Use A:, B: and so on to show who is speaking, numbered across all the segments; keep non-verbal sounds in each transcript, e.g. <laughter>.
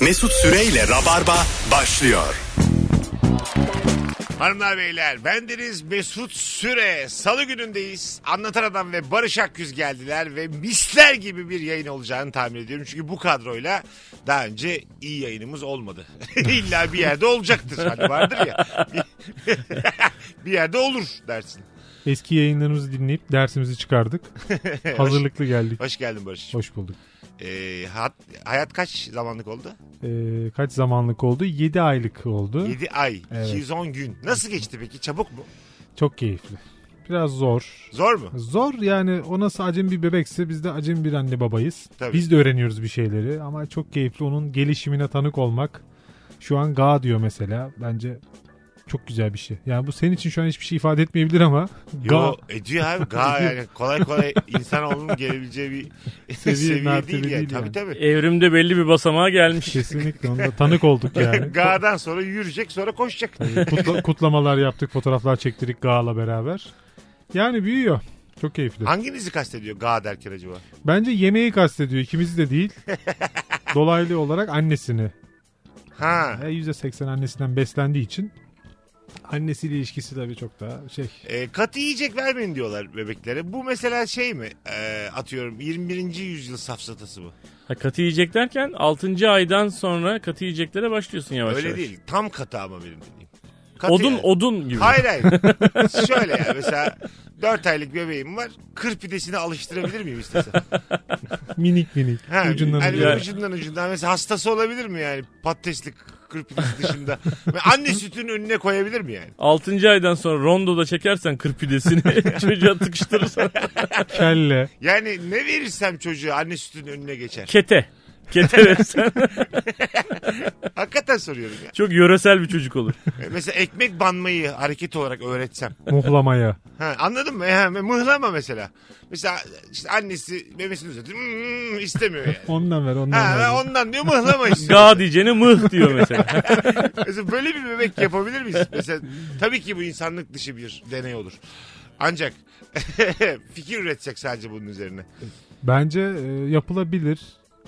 A: Mesut Süreyle Rabarba başlıyor.
B: Hanımlar beyler bendeniz Mesut Süre. Salı günündeyiz. Anlatan Adam ve Barış Akgüz geldiler ve misler gibi bir yayın olacağını tahmin ediyorum. Çünkü bu kadroyla daha önce iyi yayınımız olmadı. <laughs> İlla bir yerde olacaktır. Hani vardır ya. <laughs> bir yerde olur dersin.
C: Eski yayınlarımızı dinleyip dersimizi
B: <laughs>
C: çıkardık. Hazırlıklı geldik.
B: Hoş geldin Barış.
C: Hoş bulduk.
B: Ee, hat- hayat kaç zamanlık oldu?
C: Ee, kaç zamanlık oldu? 7 aylık oldu.
B: 7 ay.
C: Evet.
B: 210 gün. Nasıl geçti peki? Çabuk mu?
C: Çok keyifli. Biraz zor.
B: Zor mu?
C: Zor yani o nasıl acem bir bebekse biz de acem bir anne babayız.
B: Tabii.
C: Biz de öğreniyoruz bir şeyleri ama çok keyifli onun gelişimine tanık olmak. Şu an ga diyor mesela. Bence çok güzel bir şey. Yani bu senin için şu an hiçbir şey ifade etmeyebilir ama ga
B: Yo ediyor abi. Ga yani kolay kolay insanoğlunun gelebileceği bir <laughs> seviye,
C: Seviye,
B: değil,
C: mertebe
B: yani.
C: değil
B: Tabii
C: yani.
B: tabii.
D: Evrimde belli bir basamağa gelmiş.
C: kesinlikle onda tanık
B: <laughs>
C: olduk yani.
B: Ga'dan sonra yürüyecek sonra koşacak. <laughs>
C: Kutla- kutlamalar yaptık, fotoğraflar çektirdik Gağ'la beraber. Yani büyüyor. Çok keyifli.
B: Hanginizi kastediyor Ga derken acaba?
C: Bence yemeği kastediyor. ikimizi
B: <laughs>
C: de değil. Dolaylı olarak annesini.
B: Ha.
C: E, %80 annesinden beslendiği için. Annesiyle ilişkisi tabii çok daha şey.
B: E, katı yiyecek vermeyin diyorlar bebeklere. Bu mesela şey mi? E, atıyorum 21. yüzyıl safsatası mı?
D: Ha, katı yiyecek derken 6. aydan sonra katı yiyeceklere başlıyorsun yavaş
B: Öyle
D: yavaş.
B: değil. Tam katı ama benim dediğim. Katı
D: Odun
B: yani.
D: odun gibi.
B: Hayır hayır. Şöyle yani mesela 4 aylık bebeğim var. Kır pidesini alıştırabilir miyim istesem?
C: Minik minik.
B: Ha,
C: ucundan
B: hani
C: ucuna.
D: ucuna.
B: ucundan ucundan. Mesela hastası olabilir mi yani patatesli kır pidesi dışında? Ve anne sütünün önüne koyabilir mi yani?
D: 6. aydan sonra rondoda çekersen kırpidesini
B: <laughs>
D: <laughs> çocuğa tıkıştırırsan.
C: Kelle.
B: Yani ne verirsem çocuğa anne sütünün önüne geçer.
D: Kete. Kete versen
B: Hakikaten soruyorum ya.
D: çok yöresel bir
B: <laughs>
D: çocuk olur.
B: E, Mesela ekmek banmayı hareket olarak öğretsem.
C: Muhlamaya.
B: Ha, anladın mı? E, Ha, mıhlama mesela. Mesela işte annesi memesini uzatıyor. Hmm, istemiyor yani.
C: Ondan ver ondan
B: Ha,
C: ver.
B: ha, ondan diyor mıhlama istiyor.
D: Ga diyeceğine mıh diyor mesela.
B: Mesela böyle bir bebek yapabilir miyiz? Mesela tabii ki bu insanlık dışı bir deney olur. Ancak <laughs> fikir üretecek sadece bunun üzerine.
C: Bence e, yapılabilir.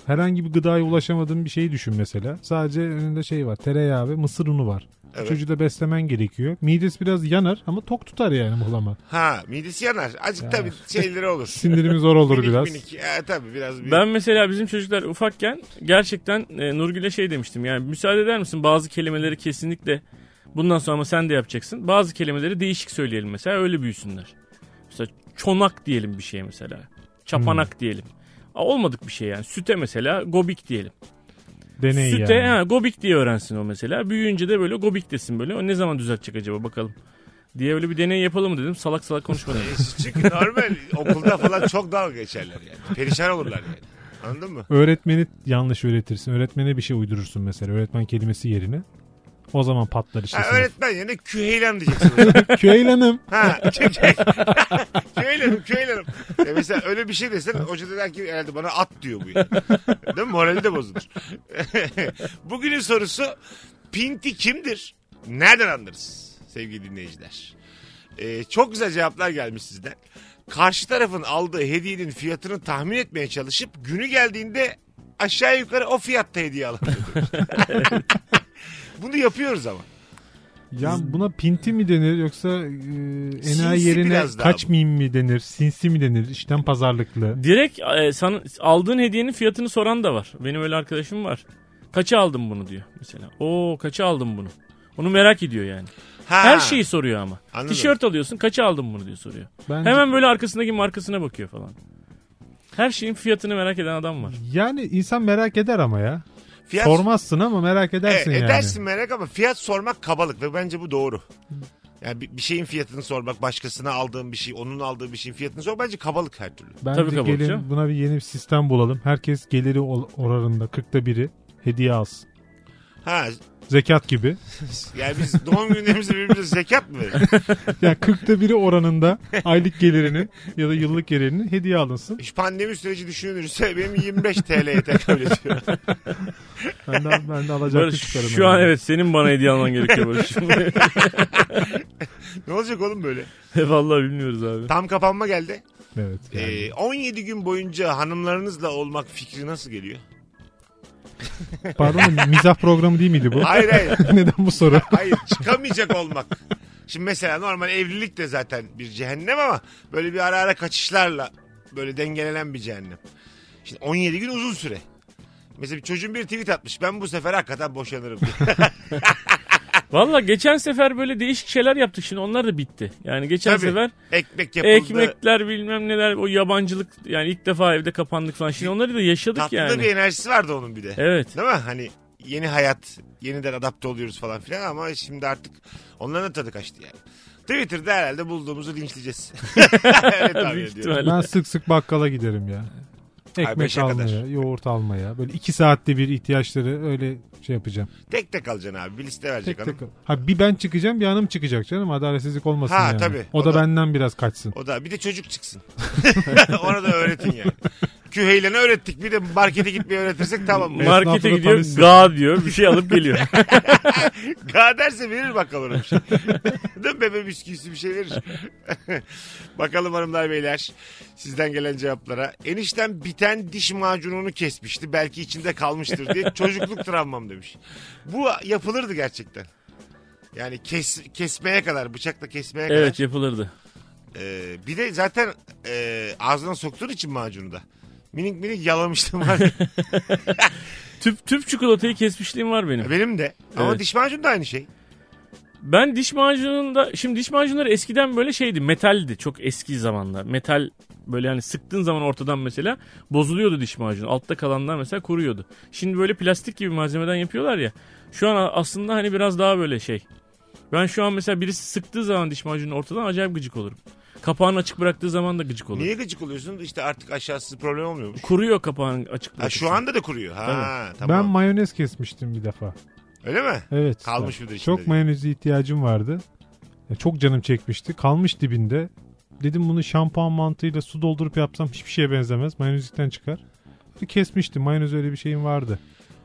C: Herhangi bir gıdaya ulaşamadığın bir şeyi düşün mesela. Sadece önünde şey var. Tereyağı ve mısır unu var.
B: Evet.
C: Çocuğu da beslemen gerekiyor. Midesi biraz yanar ama tok tutar yani muhlama.
B: Ha midesi yanar. Azıcık tabii şeyleri olur.
C: Sindirimi zor olur
B: Minik
C: biraz.
B: minik. Ha, tabii biraz. bir-
D: Ben mesela bizim çocuklar ufakken gerçekten e, Nurgül'e şey demiştim. Yani müsaade eder misin bazı kelimeleri kesinlikle bundan sonra ama sen de yapacaksın. Bazı kelimeleri değişik söyleyelim mesela öyle büyüsünler. Mesela çonak diyelim bir şeye mesela. Çapanak diyelim. Aa, olmadık bir şey yani. Süte mesela gobik diyelim.
C: Deney
D: Süte
C: yani.
D: ha, gobik diye öğrensin o mesela. Büyüyünce de böyle gobik desin böyle. O ne zaman düzeltecek acaba bakalım. Diye öyle bir deney yapalım mı dedim. Salak salak konuşma dedim.
B: Çünkü normal okulda falan çok dalga geçerler yani. Perişan olurlar yani. Anladın mı?
C: Öğretmeni yanlış öğretirsin. Öğretmene bir şey uydurursun mesela. Öğretmen kelimesi yerine. O zaman patlar işte.
B: Ha,
C: sınıf.
B: öğretmen yerine küheylem diyeceksin. o zaman.
C: Küheylanım.
B: ha, <laughs> şey, çünkü- küheylenim küheylenim. Ya mesela öyle bir şey desen hoca da der ki herhalde bana at diyor bu yani. Değil mi? Morali de bozulur. <laughs> Bugünün sorusu Pinti kimdir? Nereden anlarız sevgili dinleyiciler? Ee, çok güzel cevaplar gelmiş sizden. Karşı tarafın aldığı hediyenin fiyatını tahmin etmeye çalışıp günü geldiğinde aşağı yukarı o fiyatta hediye alın.
D: <laughs>
B: Bunu yapıyoruz ama.
C: Ya buna pinti mi denir yoksa e, enayi
B: Sinsi
C: yerine
B: biraz daha
C: kaçmayayım mi denir? Sinsi mi denir? İşten pazarlıklı.
D: Direkt e, sana, aldığın hediyenin fiyatını soran da var. Benim öyle arkadaşım var. Kaça aldım bunu diyor mesela. Oo kaça aldım bunu. Onu merak ediyor yani.
B: Ha.
D: Her şeyi soruyor ama.
B: Anladım.
D: Tişört alıyorsun kaça aldım bunu diye soruyor.
C: Bence-
D: Hemen böyle arkasındaki markasına bakıyor falan. Her şeyin fiyatını merak eden adam var.
C: Yani insan merak eder ama ya.
B: Fiyat
C: Sormazsın ama merak edersin
B: Evet,
C: yani.
B: E, Edersin merak ama fiyat sormak kabalık ve bence bu doğru. Yani bir, bir şeyin fiyatını sormak, başkasına aldığın bir şey, onun aldığı bir şeyin fiyatını sormak bence kabalık her türlü.
C: Bence
D: Tabii kabul
C: gelin
D: edeceğim.
C: buna bir yeni bir sistem bulalım. Herkes geliri ol- oranında 40'ta biri hediye alsın.
B: Ha
C: Zekat gibi. <laughs>
B: yani biz doğum günlerimizde birbirimize zekat mı verelim?
C: Ya 40'ta biri oranında aylık gelirini ya da yıllık gelirini hediye alınsın.
B: Şu pandemi süreci düşünülürse benim 25 TL'ye tekabül ediyor.
C: Ben de, ben de alacaklı
D: Barış,
C: çıkarım.
D: şu an
C: herhalde.
D: evet senin bana hediye alman
C: <laughs>
D: gerekiyor Barış. <laughs>
B: ne olacak oğlum böyle?
D: Vallahi bilmiyoruz abi.
B: Tam kapanma geldi.
C: Evet. yani.
B: Ee, 17 gün boyunca hanımlarınızla olmak fikri nasıl geliyor?
C: Pardon da mizah programı
B: <laughs>
C: değil miydi bu? <laughs>
B: Hayır hayır.
C: Neden bu
D: <laughs>
C: soru?
B: Hayır çıkamayacak olmak. Şimdi mesela normal evlilik de zaten bir cehennem ama böyle bir ara ara kaçışlarla böyle dengelenen bir cehennem. Şimdi 17 gün uzun süre. Mesela bir çocuğun bir tweet atmış. Ben bu sefer hakikaten boşanırım. diye.
D: Valla geçen sefer böyle değişik şeyler yaptık şimdi onlar da bitti. Yani geçen
B: Tabii.
D: sefer
B: Ekmek yapıldı.
D: ekmekler bilmem neler o yabancılık yani ilk defa evde kapandık falan. Şimdi onları da yaşadık
B: Tatlı da
D: yani.
B: bir enerjisi vardı onun bir de.
D: Evet.
B: Değil mi? Hani yeni hayat, yeniden adapte oluyoruz falan filan ama şimdi artık onların da tadı kaçtı yani. Twitter'da herhalde bulduğumuzu linçleyeceğiz. evet tahmin
D: Büyük
B: ediyorum.
D: ihtimalle.
C: Ben sık sık bakkala giderim ya. Ekmek
B: beşe kadar.
C: almaya, yoğurt almaya. Böyle iki saatte bir ihtiyaçları öyle şey yapacağım.
B: Tek tek alacaksın abi. Bir liste verecek
C: Tek
B: hanım.
C: tek. Ha bir ben çıkacağım bir hanım çıkacak canım. Adaletsizlik olmasın
B: Ha,
C: yani.
B: tabii.
C: O,
B: O
C: da,
B: da-
C: benden biraz kaçsın.
B: O da bir de çocuk çıksın. <laughs> Ona da öğretin yani. Küheylen'e öğrettik bir de markete gitmeyi öğretirsek tamam. mı?
D: Markete
C: Esnafla da
D: gidiyor
C: tanışsın.
D: ga diyor bir şey alıp geliyor. <laughs>
B: Ga derse verir bakalım ona bir şey. <laughs> Değil mi? Bebe bisküvisi bir şey verir. <laughs> bakalım hanımlar beyler sizden gelen cevaplara. Enişten biten diş macununu kesmişti belki içinde kalmıştır diye çocukluk travmam demiş. Bu yapılırdı gerçekten. Yani kes, kesmeye kadar bıçakla kesmeye kadar.
D: evet yapılırdı.
B: Ee, bir de zaten e, ağzına soktuğun için macunu da. Minik minik yalamıştım var.
D: Tüp, tüp çikolatayı kesmişliğim var benim.
B: Benim de. Ama
D: Evet.
B: diş macunu da aynı şey.
D: Ben diş macununda şimdi diş macunları eskiden böyle şeydi metaldi çok eski zamanlar. Metal böyle hani sıktığın zaman ortadan mesela bozuluyordu diş macunu. Altta kalanlar mesela kuruyordu. Şimdi böyle plastik gibi malzemeden yapıyorlar ya. Şu an aslında hani biraz daha böyle şey. Ben şu an mesela birisi sıktığı zaman diş macununu ortadan acayip gıcık olurum. Kapağını açık bıraktığı zaman da gıcık olurum.
B: Niye gıcık oluyorsun? İşte artık aşağısı problem olmuyormuş.
D: Kuruyor kapağını açık
B: Ha,
D: bırakırsan.
B: şu anda da kuruyor. Ha,
C: Ben
B: tamam.
C: mayonez kesmiştim bir defa.
B: Öyle mi?
C: Evet.
B: Kalmış mıdır içinde
C: Çok
B: diye.
C: mayoneze ihtiyacım vardı. Ya Çok canım çekmişti. Kalmış dibinde. Dedim bunu şampuan mantığıyla su doldurup yapsam hiçbir şeye benzemez. Mayonezlikten çıkar. Böyle Kesmiştim. Mayonez öyle bir şeyim vardı.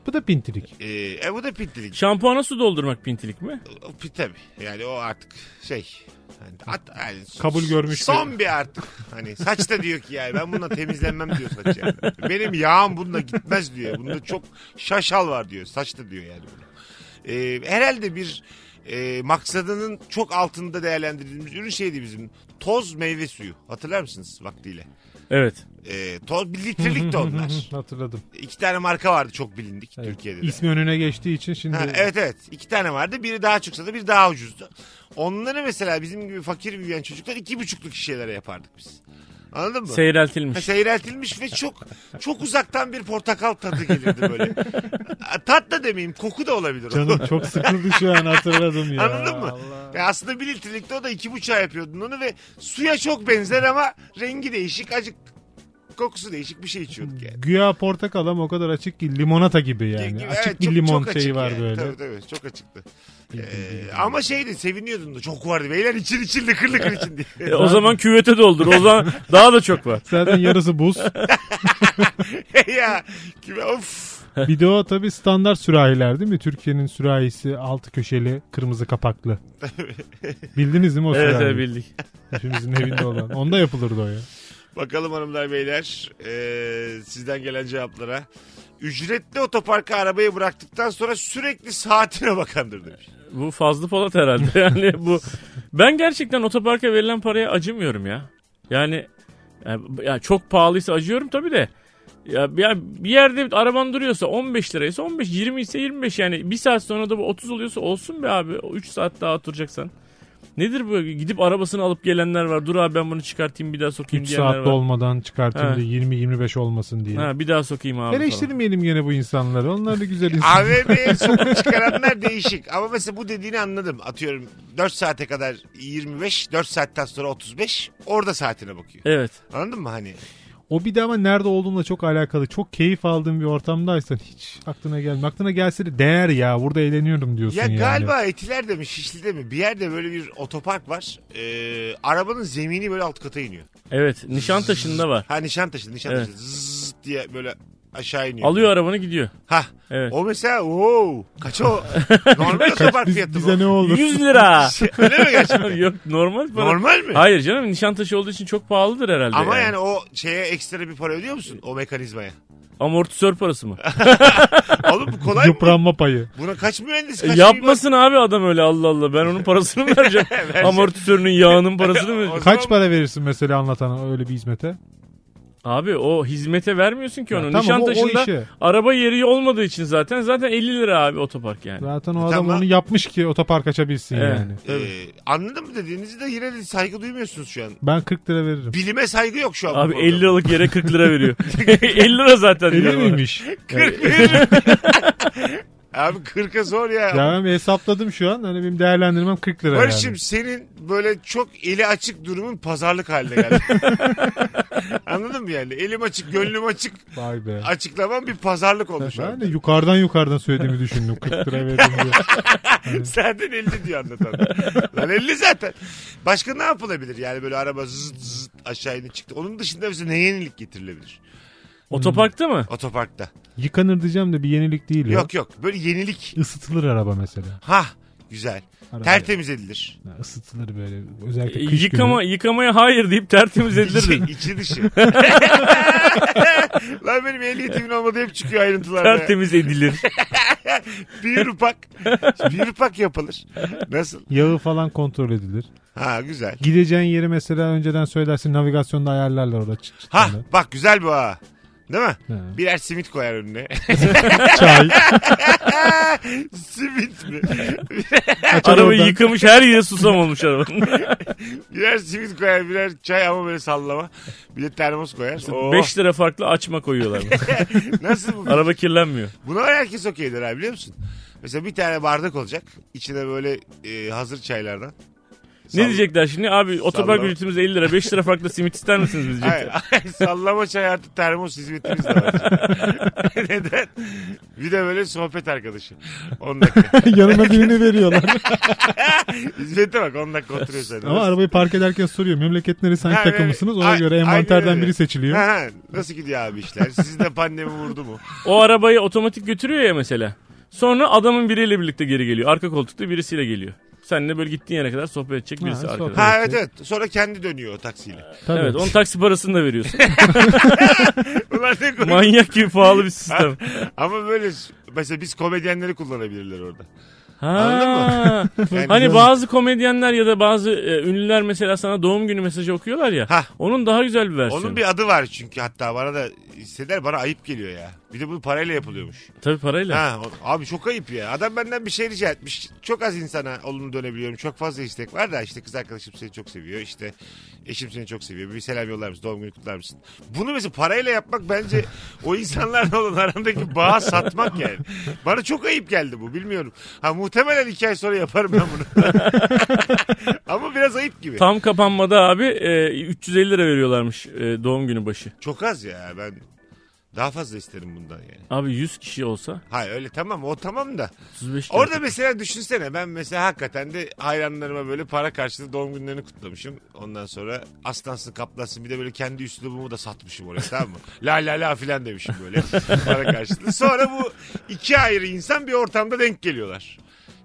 C: Bu da pintilik.
B: Ee, e, bu da pitlilik.
D: Şampuana su doldurmak pintilik mi?
B: O Pit tabii. Yani o artık şey. Yani at, yani s-
C: Kabul görmüş
B: Son bir artık. Hani saç da diyor ki yani ben bununla temizlenmem diyor saç yani. Benim yağım bununla gitmez diyor. Bunda çok şaşal var diyor. Saç da diyor yani bunu. Ee, herhalde bir e, maksadının çok altında değerlendirdiğimiz ürün şeydi bizim. Toz meyve suyu. Hatırlar mısınız vaktiyle?
D: Evet.
B: Ee, toz, bir litrelik de
C: <laughs>
B: onlar.
C: Hatırladım.
B: İki tane marka vardı çok bilindik
C: Evet.
B: Türkiye'de de.
C: İsmi önüne geçtiği için şimdi
B: Ha, evet evet. İki tane vardı. Biri daha çıksadı biri daha ucuzdu. Onları mesela bizim gibi fakir büyüyen çocuklar iki buçukluk şişelere yapardık biz. Anladın mı? Ha,
D: Seyreltilmiş.
B: Seyreltilmiş ve çok çok uzaktan bir portakal tadı gelirdi böyle. Ha, Tat da demeyeyim koku da olabilir. o.
C: canım çok sıkıldı şu an hatırladım ya.
B: Anladın mı? Ya aslında bir litrelikte o da iki buçuğa yapıyordun onu ve suya çok benzer ama rengi değişik acık kokusu değişik bir şey içiyorduk yani.
C: Güya portakal ama o kadar açık ki limonata gibi yani.
B: Gibi, Ee,
C: açık
B: evet,
C: bir
B: çok-
C: limon
B: çok açık
C: şeyi var
B: yani.
C: böyle.
B: Tabii tabii çok açıktı.
C: Bil, bil,
B: Ee,
C: bil, bil.
B: ama şeydi seviniyordun da çok vardı beyler için için lıkır lıkır için diye.
D: E, o zaman küvete doldur. O zaman daha da çok var.
C: Zaten yarısı buz.
B: <laughs> ya kime of.
C: Bir de o tabii standart sürahiler değil mi? Türkiye'nin sürahisi altı köşeli kırmızı kapaklı. Bildiniz değil mi o
D: Evet
C: sürahi?
D: evet bildik.
C: Hepimizin evinde olan. Onda yapılırdı o ya.
B: Bakalım hanımlar beyler ee, sizden gelen cevaplara. Ücretli otoparka arabayı bıraktıktan sonra sürekli saatine bakandır demiş.
D: Bu Fazlı Polat herhalde. <laughs> Yani bu ben gerçekten otoparka verilen paraya acımıyorum ya. Yani ya, ya çok pahalıysa acıyorum tabii de. Ya, ya bir yerde araban duruyorsa 15 liraysa 15, 20 ise 25 yani bir saat sonra da bu 30 oluyorsa olsun be abi. 3 saat daha oturacaksan. Nedir bu? Gidip arabasını alıp gelenler var. Dur abi ben bunu çıkartayım bir daha sokayım
C: 3
D: diyenler
C: saat
D: var.
C: dolmadan çıkartayım
D: Ha.
C: da 20-25 olmasın diye.
D: Ha, bir daha sokayım abi. falan.
C: Eleştirmeyelim gene bu insanları. Onlar
B: <laughs>
C: da güzel insan. <laughs>
B: AVM'ye sokup çıkaranlar değişik. Ama mesela bu dediğini anladım. Atıyorum 4 saate kadar 25, 4 saatten sonra 35. Orada saatine bakıyor.
D: Evet.
B: Anladın mı hani?
C: O bir de ama nerede olduğumla çok alakalı. Çok keyif aldığın bir ortamdaysan hiç aklına gelmiyor. Aklına gelse de değer ya. Burada eğleniyorum diyorsun
B: Ya
C: yani.
B: galiba Etiler'de mi Şişli'de mi bir yerde böyle bir otopark var. Ee, arabanın zemini böyle alt kata iniyor.
D: Evet. Nişantaşı'nda var.
B: Ha Nişantaşı Nişantaşı zzz diye böyle aşağı iniyor.
D: Alıyor arabanı gidiyor.
B: Ha
D: Evet.
B: o mesela ooo kaç
D: <laughs>
B: o? Normal otopark
C: Biz-
B: fiyatı
C: bize
B: bu.
C: ne olur?
D: 100 lira.
B: <laughs> Öyle mi gerçekten?
D: <laughs> Yok normal para.
B: Normal mi?
D: Hayır canım nişantaşı olduğu için çok pahalıdır herhalde.
B: Ama yani. o şeye ekstra bir para ödüyor musun? O mekanizmaya.
D: Amortisör
C: <laughs>
D: parası mı?
B: Oğlum bu kolay mı?
C: <laughs> Yıpranma payı.
B: Buna kaç mühendis
D: E,
C: Şey
B: kaç
D: yapmasın abi adam öyle Allah Allah. Ben onun parasını mı
C: <laughs>
D: vereceğim? Amortisörünün yağının parasını mı vereceğim?
C: Kaç para verirsin mesela anlatana öyle bir hizmete?
D: Abi o hizmete vermiyorsun ki
C: Ya
D: onu.
C: tamam, o- o
D: Nişantaşı'nda
C: işe.
D: araba yeri olmadı için zaten. Zaten 50 lira abi otopark yani.
C: Zaten o
B: E,
C: adam
B: tamam.
C: onu yapmış ki otopark açabilsin
D: Evet.
C: yani.
B: Ee, anladın mı dediğinizi de yine de saygı duymuyorsunuz şu an.
C: Ben 40 lira veririm.
B: Bilime saygı yok şu an. bu
D: Abi
B: programda.
D: 50 liralık yere 40 lira
C: <laughs>
D: veriyor. <laughs> 50 lira zaten.
C: Öyle
D: diyor
B: <laughs>
D: bana.
C: miymiş?
B: Kırk veririm.
C: <laughs>
B: Abi 40'a zor ya.
C: ya ben bir hesapladım şu an. Hani benim değerlendirmem 40 lira yani.
B: Barış'ım senin böyle çok eli açık durumun pazarlık haline
C: <laughs>
B: geldi. Anladın mı yani? Elim açık, gönlüm açık.
C: Vay be.
B: Açıklaman bir pazarlık oldu şu
C: Ben
B: an.
C: de yukarıdan yukarıdan söylediğimi düşündüm. 40 lira verdim
B: <laughs>
C: diye.
B: Zaten 50 diyor anlatan. Lan 50 zaten. Başka ne yapılabilir? Yani böyle araba zıt zıt aşağı indi çıktı. Onun dışında bize ne yenilik getirilebilir?
D: Otoparkta mı?
B: Otoparkta.
C: Yıkanır diyeceğim de bir yenilik değil ya.
B: Yok yok. Böyle yenilik.
C: Isıtılır araba mesela.
B: Ha güzel.
C: Araba
B: Tertemiz edilir.
C: ya, ısıtılır böyle. Özellikle kış
D: E, Yıkama,
C: günü. Şey,
D: yıkamaya hayır deyip
C: <laughs>
D: tertemiz edilirdin.
B: İçi, içi dışı. Lan benim ehliyetimin olmadığı hep çıkıyor ayrıntılarda.
D: tertemiz edilir.
B: bir ufak. Bir ufak yapılır. Nasıl?
C: Yağı falan kontrol edilir.
B: Ha güzel.
C: Gideceğin yeri mesela önceden söylersin navigasyonda ayarlarlar orada. Çıt çıt
B: Ha
C: böyle.
B: bak güzel bu ha. Değil mi?
C: Ha.
B: Birer simit koyar önüne. <laughs>
C: Çay.
B: simit mi?
C: <laughs> Açar
D: Arabayı
C: oradan. <laughs>
D: yıkamış her yere susam olmuş arabanın.
B: Birer simit koyar, birer çay ama böyle sallama. Bir de termos koyar. Oo.
D: 5 lira farklı açma koyuyorlar.
B: Nasıl bu?
D: <laughs> Araba kirlenmiyor.
B: Buna herkes okeydir abi biliyor musun? Mesela bir tane bardak olacak. İçine böyle e, hazır çaylardan.
D: Ne
B: Sall-
D: diyecekler şimdi? Abi otopark
B: Sallama.
D: ücretimiz 50 lira. 5 lira farklı simit ister
B: <laughs>
D: misiniz biz diyecekler.
B: Hayır, hayır, sallama çay artı termos hizmetimiz de
C: <laughs>
B: var. Neden? Bir de böyle sohbet arkadaşı. 10
C: <laughs>
B: dakika.
C: Yanına
B: <laughs>
C: birini veriyorlar.
B: Hizmete bak 10 dakika oturuyor sen.
C: Ama arabayı park ederken soruyor. Memleket neresi hangi
B: Ha, evet.
C: takımısınız? Ona
B: Ay-
C: göre
B: aynen
C: envanterden
B: öyle.
C: biri seçiliyor.
B: Ha, ha. nasıl gidiyor abi işler? Sizin de pandemi vurdu mu?
D: O arabayı otomatik götürüyor ya mesela. Sonra adamın biriyle birlikte geri geliyor. Arka koltukta birisiyle geliyor. Seninle böyle gittiğin yere kadar sohbet edecek birisi
C: sohbet.
D: arkada.
B: Ha evet evet. Sonra kendi dönüyor o taksiyle.
C: Tabii.
D: Evet onun taksi parasını da veriyorsun. <laughs>
B: Ulan ne komik.
D: Manyak gibi pahalı bir sistem.
B: Ama böyle mesela biz komedyenleri kullanabilirler orada.
D: Ha.
B: Yani
D: hani
C: Güzel.
D: bazı komedyenler ya da bazı e, ünlüler mesela sana doğum günü mesajı okuyorlar ya.
B: Hah.
D: Onun daha güzel bir versiyonu.
B: Onun bir adı var çünkü hatta bana da hisseder bana ayıp geliyor ya. Bir de bu parayla yapılıyormuş.
D: Tabii parayla.
B: Ha, o- abi çok ayıp ya. Adam benden bir şey rica etmiş. Çok az insana olumlu dönebiliyorum. Çok fazla istek var da işte kız arkadaşım seni çok seviyor. İşte eşim seni çok seviyor. Bir selam yollar mısın? Doğum günü kutlar mısın? Bunu mesela parayla yapmak bence o insanlarla olan arandaki bağı satmak yani. Bana çok ayıp geldi bu bilmiyorum. Ha muhtemelen iki ay sonra yaparım ben bunu. <laughs> Ama biraz ayıp gibi.
D: Tam kapanmada abi e, 350 lira veriyorlarmış e, doğum günü başı.
B: Çok az ya ben daha fazla isterim bundan yani.
D: Abi 100 kişi olsa
B: Hayır öyle tamam o tamam da.
D: 35 lira.
B: Orada mesela düşünsene ben mesela hakikaten de hayranlarıma böyle para karşılığı doğum günlerini kutlamışım. Ondan sonra aslansın kaplansın bir de böyle kendi üslubumu da satmışım oraya tamam mı? La la la filan demişim böyle <laughs> para karşılığı. Sonra bu iki ayrı insan bir ortamda denk geliyorlar.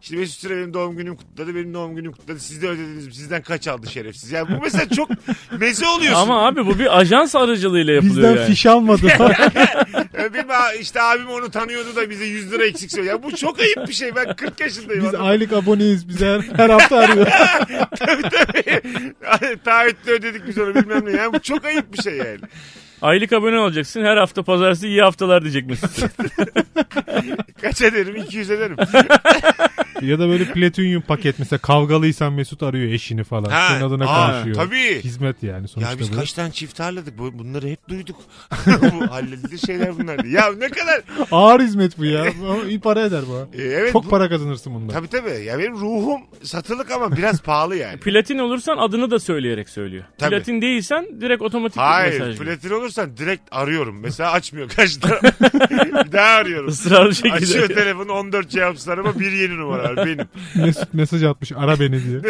B: İşte Mesut Süre benim doğum günüm kutladı, benim doğum günüm kutladı. Siz de ödediniz, mi? sizden kaç aldı şerefsiz. Yani bu mesela çok meze oluyorsun.
D: Ama abi bu bir ajans aracılığıyla yapılıyor
C: Bizden
D: yani.
C: fiş almadı.
B: <laughs> Ya benim a- işte abim onu tanıyordu da bize 100 lira eksik söylüyor. Ya bu çok ayıp bir şey. Ben 40 yaşındayım.
C: Biz
B: Adam-
C: aylık aboneyiz. Bize her, her hafta arıyor.
B: Taahhütle ödedik biz onu bilmem ne. Yani bu çok ayıp bir şey yani.
D: Aylık abone olacaksın. Her hafta pazartesi iyi haftalar
B: <laughs>
D: diyecek Mesut.
B: Kaç ederim? 200 ederim.
C: <laughs> ya da böyle platinyum paket. Mesela kavgalıysan Mesut arıyor eşini falan.
B: Ha,
C: Senin adına
B: aa,
C: konuşuyor.
B: tabii.
C: Hizmet yani sonuçta.
B: ya biz
C: bu.
B: kaç tane çift ağırladık. Bu- Bunları hep duyduk. <laughs> bu halledilir şeyler bunlar diye. Ya ne kadar.
C: Ağır
B: <laughs>
C: hizmet bu ya. Ama iyi para eder bu. ha.
B: E, evet.
C: Çok
B: bu-
C: para kazanırsın bundan.
B: Tabii tabii. Ya benim ruhum satılık ama biraz pahalı
C: <laughs>
B: yani.
D: Platin olursan adını da söyleyerek söylüyor.
B: Tabii.
D: Platin değilsen direkt otomatik
B: Hayır.
D: mesaj. geliyor.
B: Platin olursan direkt arıyorum. Mesela açmıyor karşıda.
C: <laughs>
B: Bir daha arıyorum.
D: Israrlı şekilde. <laughs>
B: Açıyor telefonu 14 cevapsızlar ama bir yeni numara var benim.
C: Mesut mesaj atmış. Ara
B: <laughs>
C: beni diye.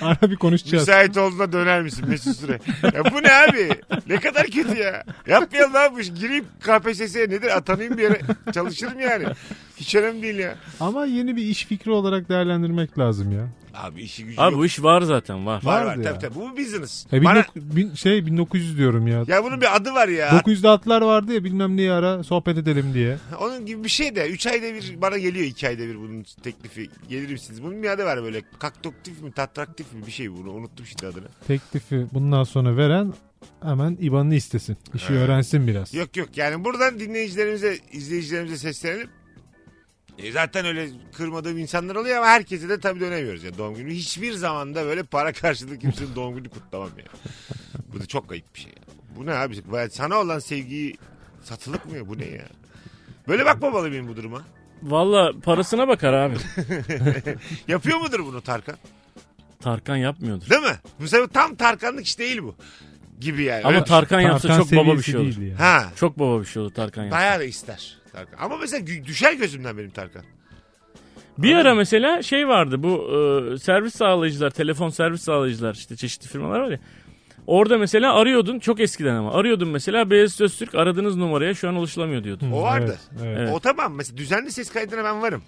C: Ara bir konuşacağız.
B: Müsait olduğunda döner misin Mesut Süre? Ya bu ne abi? Ne kadar kötü ya. Yapmayalım abi bu iş. Gireyim KPSS'ye nedir? Atanayım bir yere. Çalışırım yani. Hiç önemli değil ya.
C: Ama yeni bir iş fikri olarak değerlendirmek lazım ya.
B: Abi işi gücü
D: Abi
B: yok.
D: bu iş var zaten var.
B: var
C: vardı
B: var.
C: ya.
B: Tabii tabii. Bu bir business.
C: E, bin
B: Bana-
C: dok- bin- şey 1900 diyorum ya.
B: Ya bunun bir adı var ya.
C: 900'de atlar vardı ya bilmem neyi ara sohbet edelim diye.
B: Onun gibi bir şey de 3 ayda bir bana geliyor 2 ayda bir bunun teklifi. Gelir misiniz? Bunun bir adı var böyle. Kaktoktif mi? Tatraktif mi? Bir şey bunu. Unuttum şimdi adını.
C: Teklifi bundan sonra veren hemen IBAN'ını istesin. İşi öğrensin biraz.
B: Yok yok yani buradan dinleyicilerimize, izleyicilerimize seslenelim. E zaten öyle kırmadığım insanlar oluyor ama herkese de tabii dönemiyoruz ya doğum günü. Hiçbir zamanda böyle para karşılığı kimsenin doğum günü kutlamam yani. Bu da çok ayıp bir şey ya. Bu ne abi? Böyle Sana olan sevgiyi satılık mı ya? Bu ne ya? Böyle bakmamalı mıyım bu duruma?
D: Valla parasına bakar abi.
B: Yapıyor mudur bunu Tarkan?
D: Tarkan yapmıyordur.
B: Değil mi? Bu sefer tam Tarkanlık iş değil bu. Gibi yani.
D: Ama
B: Öyle- şey.
D: Tarkan yapsa
C: Tarkan
D: çok baba bir
C: seviyesi
D: şey olur.
C: değil yani.
B: ha.
D: Çok baba bir şey olur Tarkan yapsa.
B: Bayağı da ister. Tarkan. Ama mesela gü- düşer gözümden benim Tarkan.
D: Bir ara mesela şey vardı bu e, servis sağlayıcılar, telefon servis sağlayıcılar işte çeşitli firmalar var ya. Orada mesela arıyordun çok eskiden ama arıyordun mesela Beyaz Öztürk aradığınız numaraya şu an ulaşılamıyor diyordu.
B: O vardı.
C: Evet, evet.
D: Evet.
B: O tamam mesela düzenli ses kaydına ben varım.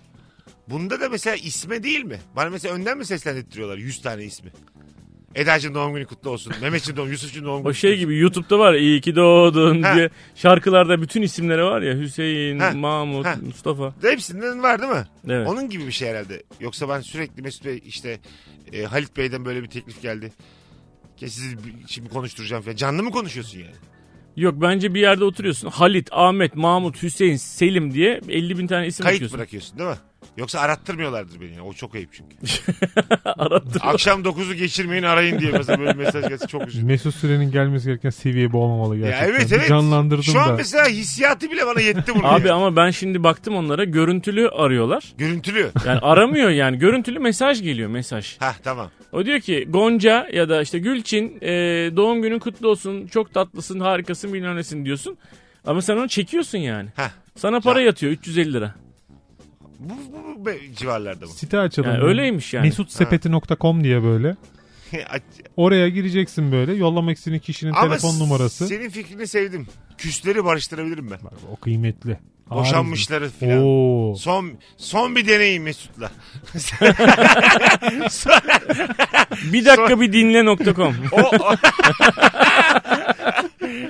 B: Bunda da mesela isme değil mi? Bana mesela önden mi seslendirtiyorlar 100 tane ismi? Eda'cığım doğum günü kutlu
D: <laughs>
B: olsun. Mehmet'cim doğum, Yusuf'cum doğum günü
D: O
B: kutlu
D: şey
B: olsun.
D: gibi YouTube'da var ya, iyi ki doğdun
B: Ha.
D: diye şarkılarda bütün isimleri var ya Hüseyin,
B: Ha.
D: Mahmut,
B: Ha.
D: Mustafa.
B: Hepsinden var değil mi?
D: Evet.
B: Onun gibi bir şey herhalde. Yoksa ben sürekli Mesut Bey işte e, Halit Bey'den böyle bir teklif geldi. Ke sizi bi- şimdi konuşturacağım falan. Canlı mı konuşuyorsun yani?
D: Yok bence bir yerde oturuyorsun. Halit, Ahmet, Mahmut, Hüseyin, Selim diye 50 bin tane isim
B: Kayıt
D: atıyorsun. <laughs>
B: bırakıyorsun değil mi? Yoksa arattırmıyorlardır beni. O çok ayıp çünkü.
D: Arattır.
B: Akşam 9'u geçirmeyin arayın diye mesela böyle mesaj gelse çok üzücü.
C: Mesut Süren'in gelmesi gereken seviye bu olmamalı
B: Ya
C: gerçekten.
B: evet evet.
C: Canlandırdım
B: Şu an
C: da.
B: mesela hissiyatı bile bana
C: <laughs>
B: yetti burada.
D: Abi
B: ya.
D: ama ben şimdi baktım onlara görüntülü arıyorlar.
B: Görüntülü.
D: Yani aramıyor yani görüntülü mesaj geliyor mesaj.
B: Hah tamam.
D: O diyor ki Gonca ya da işte Gülçin e, doğum günün kutlu olsun çok tatlısın harikasın bilmem nesin diyorsun. Ama sen onu çekiyorsun yani.
B: Hah.
D: Sana para yatıyor 350 lira.
B: Bu, bu, bu be- civarlarda mı?
C: Site açalım.
D: Yani
C: böyle.
D: öyleymiş yani.
C: Mesutsepeti.com diye böyle.
B: <laughs>
C: Oraya gireceksin böyle. Yollamak istediğin kişinin
B: Ama
C: telefon numarası.
B: Senin fikrini sevdim. Küsleri barıştırabilirim ben.
C: Bak, o kıymetli.
B: Boşanmışları
C: Ağır.
B: filan.
C: Oo.
B: Son son bir deneyim
C: <laughs>
B: Mesut'la. <laughs>
D: Bir dakika bir dinle nokta.com.
B: O, o-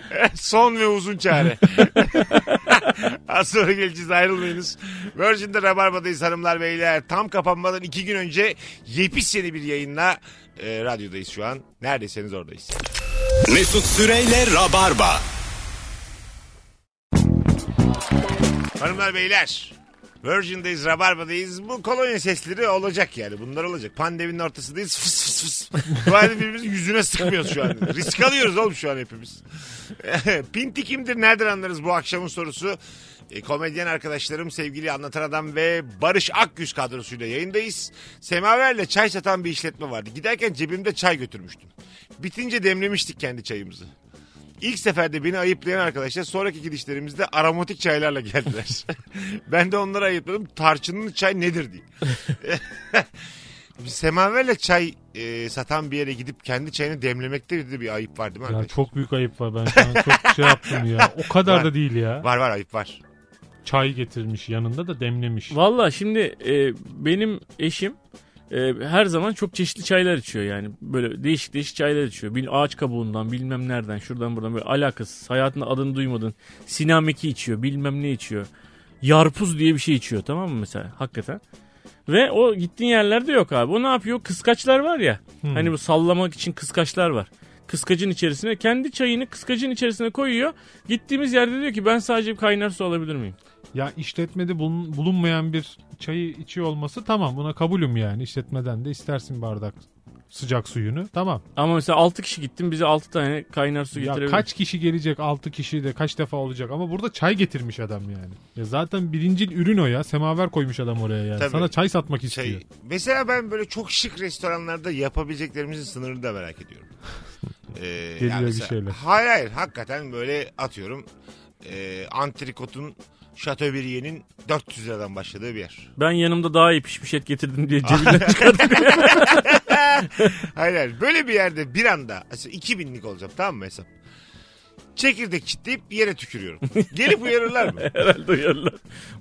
B: <laughs> son ve uzun çare. <laughs> Az sonra geleceğiz ayrılmayınız. Virgin'de Rabarba'dayız hanımlar beyler. Tam kapanmadan iki gün önce yepis yeni bir yayınla e, radyodayız şu an. Neredeseniz oradayız.
A: Mesut Süreyle Rabarba.
B: Hanımlar beyler. Virgin'dayız, Rabarba'dayız. Bu kolonya sesleri olacak yani. Bunlar olacak. Pandeminin ortasındayız. Fıs fıs fıs. Duayla birbirimizin yüzüne sıkmıyoruz şu an. Risk alıyoruz oğlum şu an hepimiz. <laughs> Pinti kimdir, nereden anlarız bu akşamın sorusu? E, komedyen arkadaşlarım, sevgili anlatan adam ve Barış Akgüz kadrosuyla yayındayız. Semaver'le çay satan bir işletme vardı. Giderken cebimde çay götürmüştüm. Bitince demlemiştik kendi çayımızı. İlk seferde beni ayıplayan arkadaşlar sonraki gidişlerimizde aromatik çaylarla geldiler. <laughs> ben de onları ayıpladım. Tarçınlı çay nedir diye. <laughs> Semaverle çay e, satan bir yere gidip kendi çayını demlemekte de bir ayıp var değil mi?
C: Ya
B: arkadaş?
C: çok büyük ayıp var ben şu an çok şey yaptım ya. O kadar da değil ya.
B: Var var ayıp var.
C: Çay getirmiş yanında da demlemiş.
D: Valla şimdi e, benim eşim e, her zaman çok çeşitli çaylar içiyor yani. Böyle değişik değişik çaylar içiyor. Bil, ağaç kabuğundan bilmem nereden şuradan buradan böyle alakasız. Hayatında adını duymadın. Sinameki içiyor bilmem ne içiyor. Yarpuz diye bir şey içiyor tamam mı mesela hakikaten. Ve o gittiğin yerlerde yok abi. O ne yapıyor? Kıskaçlar var ya. Hani bu sallamak için kıskaçlar var. Kıskacın içerisine kendi çayını kıskacın içerisine koyuyor. Gittiğimiz yerde diyor ki ben sadece bir kaynar su alabilir miyim?
C: Ya işletmede bulun- bulunmayan bir çayı içiyor olması tamam buna kabulüm yani. İşletmeden de istersin bardak sıcak suyunu. Tamam.
D: Ama mesela 6 kişi gittim bize 6 tane kaynar su
C: Ya
D: getirebilir.
C: kaç kişi gelecek 6 kişi de kaç defa olacak ama burada çay getirmiş adam yani. Ya zaten birincil ürün o ya. Semaver koymuş adam oraya yani.
B: Tabii.
C: Sana çay satmak istiyor.
B: Çay. Şey, Mesela ben böyle çok şık restoranlarda yapabileceklerimizin sınırını da merak
C: <laughs>
B: ediyorum. Ee, yani
C: Geliyor bir
B: mesela-
C: şeyler.
B: Hayır hayır hakikaten böyle atıyorum. E, antrikotun Chateaubriand'in 400 liradan başladığı bir yer.
D: Ben yanımda daha iyi pişmiş et getirdim diye
B: <laughs>
D: cebinden çıkar.
B: Hayır hayır. Böyle bir yerde bir anda mesela 2000'lik olacak tamam mı hesap? çekirdek çitleyip yere tükürüyorum. Gelip uyarırlar
C: <laughs>
B: mı?
D: Herhalde uyarırlar.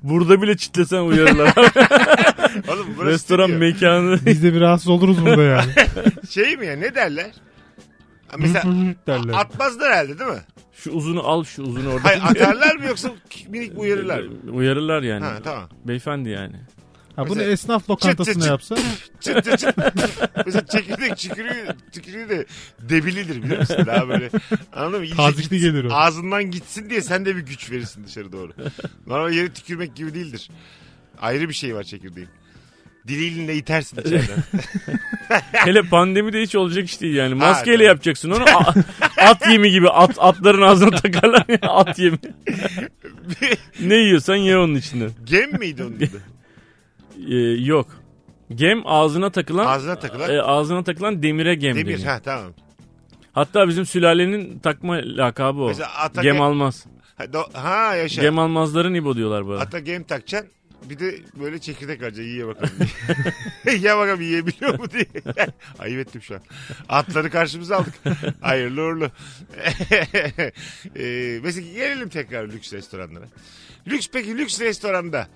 D: Burada bile çitlesen
B: <laughs>
D: uyarırlar.
B: Oğlum burası
D: Restoran
B: stüdyo.
D: mekanı. <laughs>
C: Biz de bir rahatsız oluruz
B: <laughs>
C: burada yani.
B: Şey mi ya ne derler? Ha, Mesela
C: derler.
B: atmazlar herhalde değil mi?
D: Şu uzunu al şu uzunu orada.
B: Hayır atarlar mı yoksa minik uyarırlar mı?
D: Uyarırlar yani.
B: Ha tamam. <laughs>
D: Beyefendi yani.
C: Ha, bunu
B: Mesela-
C: esnaf
B: Çıt
C: lokantasına
B: çıt
C: yapsa.
B: Çıt çıt çıt. Mesela çekirdek tükürüğü, tükürüğü de debilidir biliyor musun? Daha böyle anladın mı? İyice
C: Tazikli
B: gitsin,
C: gelir o.
B: Ağzından gitsin diye sen de bir güç verirsin dışarı doğru. Normal yere tükürmek gibi değildir. Ayrı bir şey var çekirdeğin. Diliyle itersin
D: <laughs>
B: içeriden.
D: Hele pandemide hiç olacak iş değil yani. Maskeyle
B: tabii.
D: yapacaksın onu. A- at yemi gibi. At, atların ağzına takarlar ya
B: <laughs>
D: at yemi. ne yiyorsan ye onun içinde.
B: Gem miydi onun adı?
D: Ee, yok. Gem ağzına takılan
B: Ağzına takılan-
D: e, ağzına takılan demire gem
B: Demir
D: deniyor.
B: ha tamam.
D: Hatta bizim sülalenin takma lakabı o.
B: Mesela Şey- ata
D: gem
B: gem-
D: almaz.
B: Ha, do- ha yaşa.
D: Gem almazların ibo diyorlar bana.
B: Ata gem takacaksın. Bir de böyle çekirdek harca yiye bakalım diye. ya bakalım yiyebiliyor mu diye. <laughs> Ayıp ettim şu an. Atları karşımıza aldık. Hayırlı uğurlu. <laughs> ee, mesela gelelim tekrar lüks restoranlara. Lüks peki lüks restoranda.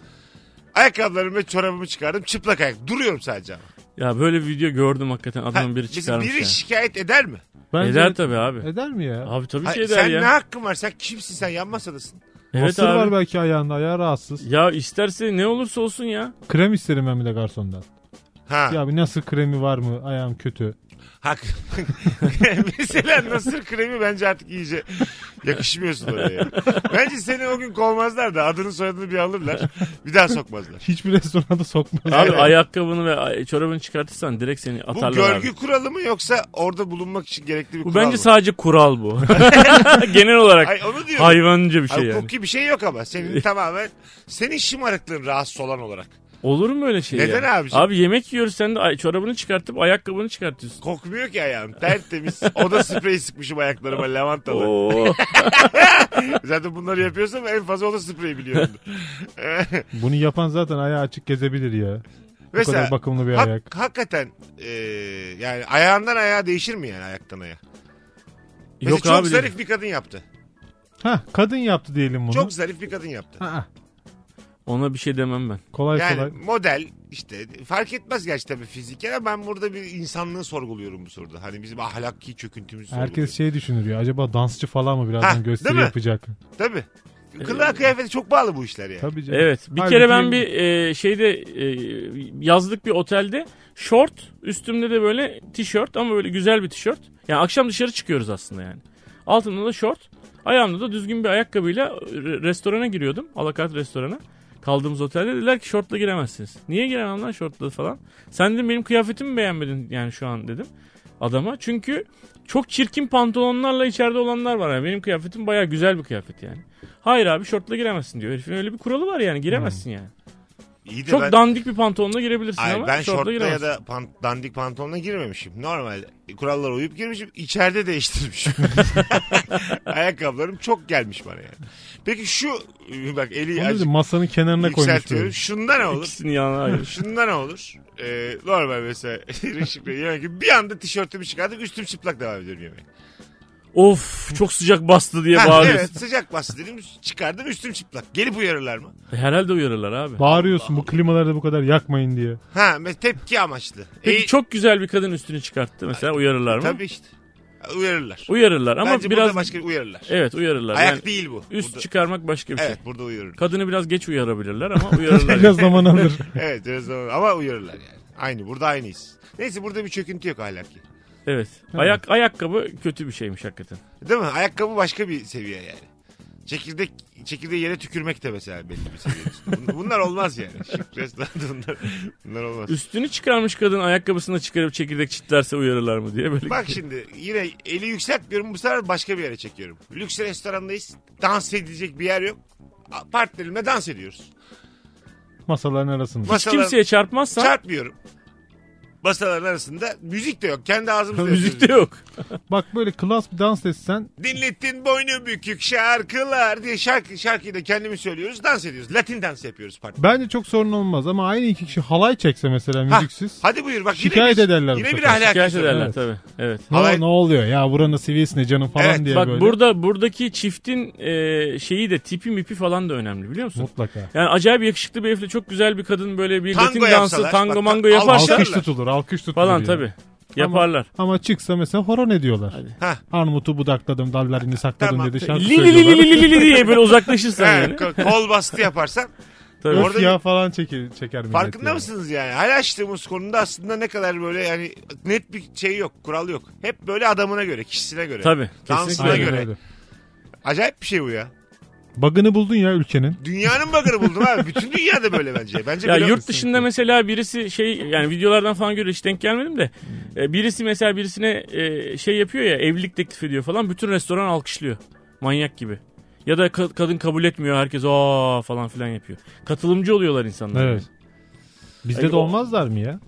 B: Ayakkabılarımı ve çorabımı çıkardım. Çıplak ayak. Duruyorum sadece ama.
D: Ya böyle bir video gördüm hakikaten
B: Ha,
D: adamın biri
B: mesela
D: çıkarmış
B: Biri
D: ya.
B: şikayet eder mi?
C: Bence-
D: Eder tabii abi.
C: Eder mi ya?
D: Abi tabii ki
B: Hayır,
D: eder
B: sen
D: şey ya.
B: ne hakkın var? Sen kimsin? Sen yan masadasın.
D: evet
C: Mısır var
D: abi.
C: belki ayağında ayağı rahatsız.
D: Ya isterse ne olursa olsun ya.
C: Krem isterim ben bir de garsondan.
B: Ha.
C: Ya abi nasıl kremi var mı ayağım kötü.
B: Hak. <laughs> Mesela nasır kremi bence artık iyice yakışmıyorsun oraya. ya. Bence seni o gün kovmazlar da adını soyadını bir alırlar. Bir daha sokmazlar.
C: Hiçbir <laughs> restoranda sokmaz.
D: Abi
B: Evet.
D: ayakkabını ve ay- çorabını çıkartırsan direkt seni
B: Bu
D: atarlar
B: görgü
D: abi.
B: kuralı mı yoksa orada bulunmak için gerekli bir
D: Bu
B: kural
D: bence
B: mı?
D: sadece
B: <laughs>
D: kural bu. <laughs> Genel olarak
B: Ay onu diyorum.
D: hayvanca bir şey
B: Ay,
D: yani.
B: Hukuki bir şey yok ama
D: <laughs>
B: senin tamamen senin şımarıklığın rahatsız olan olarak.
D: Olur mu öyle şey
B: Neden
D: ya?
B: abiciğim?
D: Abi yemek yiyoruz sen de ay- çorabını çıkartıp ayakkabını çıkartıyorsun.
B: Kokmuyor ki ayağım tertemiz. Oda spreyi sıkmışım
D: <laughs>
B: ayaklarıma lavantalı.
D: Oo.
B: Zaten bunları yapıyorsam en fazla oda spreyi
D: <laughs>
B: biliyorum.
C: Bunu yapan zaten ayağı açık gezebilir ya. Bu kadar bakımlı bir
B: hak-
C: ayak.
B: Hakikaten e, yani ayağından ayağa değişir mi yani ayaktan ayağa? Mesela
D: Yok
B: çok
D: abi.
B: zarif
D: dedi.
B: bir kadın yaptı.
C: Ha kadın yaptı diyelim bunu.
B: Çok zarif bir kadın yaptı.
C: Ha, ha.
D: Ona bir şey demem ben.
C: kolay
B: yani
C: kolay.
B: model işte fark etmez gerçi tabii fiziken ama ben burada bir insanlığı sorguluyorum bu soruda. Hani bizim ahlaki çöküntümüzü
C: Herkes
B: sorguluyorum.
C: şey düşünür ya acaba dansçı falan mı birazdan
B: Ha,
C: gösteri
B: değil mi?
C: yapacak.
B: Tabii. Kılığa kıyafete çok bağlı bu işler yani.
C: şey- Ee, Tabii canım.
D: Evet. Bir
C: Halbuki-
D: kere ben bir e, şeyde e, yazlık bir otelde şort üstümde de böyle tişört ama böyle güzel bir tişört. Yani akşam dışarı çıkıyoruz aslında yani. Altımda da şort. Ayağımda da düzgün bir ayakkabıyla re- restorana giriyordum. Alakart restorana. Kaldığımız otelde dediler ki şortla giremezsiniz. Niye giremem lan şortla falan. Sen dedim benim kıyafetimi beğenmedin yani şu an dedim adama. Çünkü çok çirkin pantolonlarla içeride olanlar var. Yani benim kıyafetim baya güzel bir kıyafet yani. Hayır abi şortla giremezsin diyor. Herifin öyle bir kuralı var yani giremezsin yani.
B: İyi Hmm. de
D: Çok
B: ben,
D: dandik bir pantolonla girebilirsin
B: Ay,
D: ama
B: ben
D: şortla,
B: şortla ya
D: giremezsin.
B: da pant- dandik pantolonla girmemişim. Normal e, kurallara uyup girmişim. İçeride
C: <laughs>
B: değiştirmişim. <laughs> Ayakkabılarım çok gelmiş bana yani. Peki şu e, bak eli
C: Onu dedi,
B: acık
C: masanın kenarına koymuş.
B: yükseltiyorum.
C: böyle.
B: Şunda ne olur?
D: İkisini yana ayır.
B: Şunda ne olur? Ee, normal mesela <laughs> Reşit Bey yemek gibi bir anda tişörtümü çıkartıp üstüm çıplak devam ediyorum yemeğe.
D: <laughs> of çok sıcak bastı diye
B: Ha, evet
D: bağırıyorsun.
B: sıcak bastı dedim çıkardım üstüm çıplak. Gelip uyarırlar mı?
D: Herhalde uyarırlar abi.
C: Bağırıyorsun bu klimaları da bu kadar yakmayın diye.
B: Ha me- tepki amaçlı.
D: Peki
B: Ee,
D: çok güzel bir kadın üstünü çıkarttı mesela uyarırlar mı?
B: Tabii işte. Uyarırlar.
D: Uyarırlar ama
B: Bence
D: biraz
B: burada başka uyarırlar.
D: evet uyarırlar.
B: Ayak
D: yani
B: değil bu.
D: üst
B: Burada-
D: çıkarmak başka bir şey.
B: Evet burada uyarırlar.
D: Kadını biraz geç
B: <laughs>
D: uyarabilirler ama uyarırlar. yani.
C: Biraz zaman alır.
B: evet biraz ama- ama uyarırlar yani. Aynı burada aynıyız. Neyse burada bir çöküntü yok ahlaki.
D: Evet. Ayak ayakkabı kötü bir şeymiş hakikaten.
B: Değil mi? Ayakkabı başka bir seviye yani. Çekirdek çekirdeği yere tükürmek de mesela belli bir seviye. Bun- Bunlar olmaz yani. <laughs> Şık restoranda bunlar, bunlar olmaz.
D: Üstünü çıkarmış kadın ayakkabısını da çıkarıp çekirdek çitlerse uyarırlar mı diye böyle.
B: Bak şimdi yine eli yükseltmiyorum bu sefer başka bir yere çekiyorum. Lüks restorandayız. Dans edilecek bir yer yok. A- Partnerimle dans ediyoruz.
C: Masaların arasında.
D: Hiç
B: Masalar
D: <laughs> kimseye çarpmazsan
B: çarpmıyorum. masaların arasında müzik de yok. Kendi ağzımızla yapıyoruz.
D: Müzikte yok.
C: Bak böyle klas bir dans etsen
B: Dinlettin boynu bükük şarkılar diye şarkı, şarkıyı da kendimiz söylüyoruz. Dans ediyoruz. Latin dans yapıyoruz pardon.
C: bence çok sorun olmaz ama aynı iki kişi halay çekse mesela müziksiz.
B: Hadi buyur bak. yine
C: Şikayet
B: bir-
C: ederler bu
B: Yine bir
C: sefer.
B: ahlaki
D: Şikayet
B: sorun.
D: ederler
C: Evet.
D: tabii. Evet.
C: Ne,
B: halay-
C: ne oluyor ya buranın seviyesi ne canım falan
B: Evet,
C: diye
D: Bak
C: böyle.
D: burada buradaki çiftin e, şeyi de tipi mipi falan da önemli biliyor musun?
C: Mutlaka.
D: Yani acayip yakışıklı bir herifle çok güzel bir kadın böyle bir
B: Tango
D: latin dansı
B: yapsalar,
D: tango
B: bak,
D: mango
B: al-
D: yaparsa
B: alkış-
C: Alkış tutulur alkış tutulur.
D: falan
C: yani.
D: tabii. Yaparlar.
C: Ama çıksa mesela horon ediyorlar.
B: Hah.
C: Armut'u budakladım dallarını sakladım
B: Tamam.
C: dedi şarkı
D: Li li li li
C: söylüyorlar.
D: li li li diye böyle uzaklaşırsan
B: Ha,
D: yani.
B: ko- kol bastı yaparsan.
D: <laughs> Tabii.
C: Öf
B: Orada
C: ya falan çeker, çeker millet
B: Farkında
C: yani.
B: mısınız yani? Her açtığımız konuda aslında ne kadar böyle yani net bir şey yok, kural yok. Hep böyle adamına göre, kişisine göre.
D: Tabii.
B: Dansına
D: Kesinlikle.
C: Aynen
B: göre.
C: öyle.
B: Acayip bir şey bu ya.
C: Bug'ını buldun ya ülkenin.
B: Dünyanın bagırı buldum abi. Bütün dünyada böyle bence.
D: <laughs>
B: Bence
D: Ya
B: böyle
D: yurt dışında mesela birisi şey yani videolardan falan göre hiç denk gelmedim de
B: Hmm.
D: e, birisi mesela birisine e, şey yapıyor ya evlilik teklif ediyor falan bütün restoran alkışlıyor. Manyak gibi. Ya da ka- kadın kabul etmiyor herkes aa falan filan yapıyor. Katılımcı oluyorlar insanlar.
C: Evet. Bizde
D: Ay,
C: de
D: o-
C: olmazlar mı ya?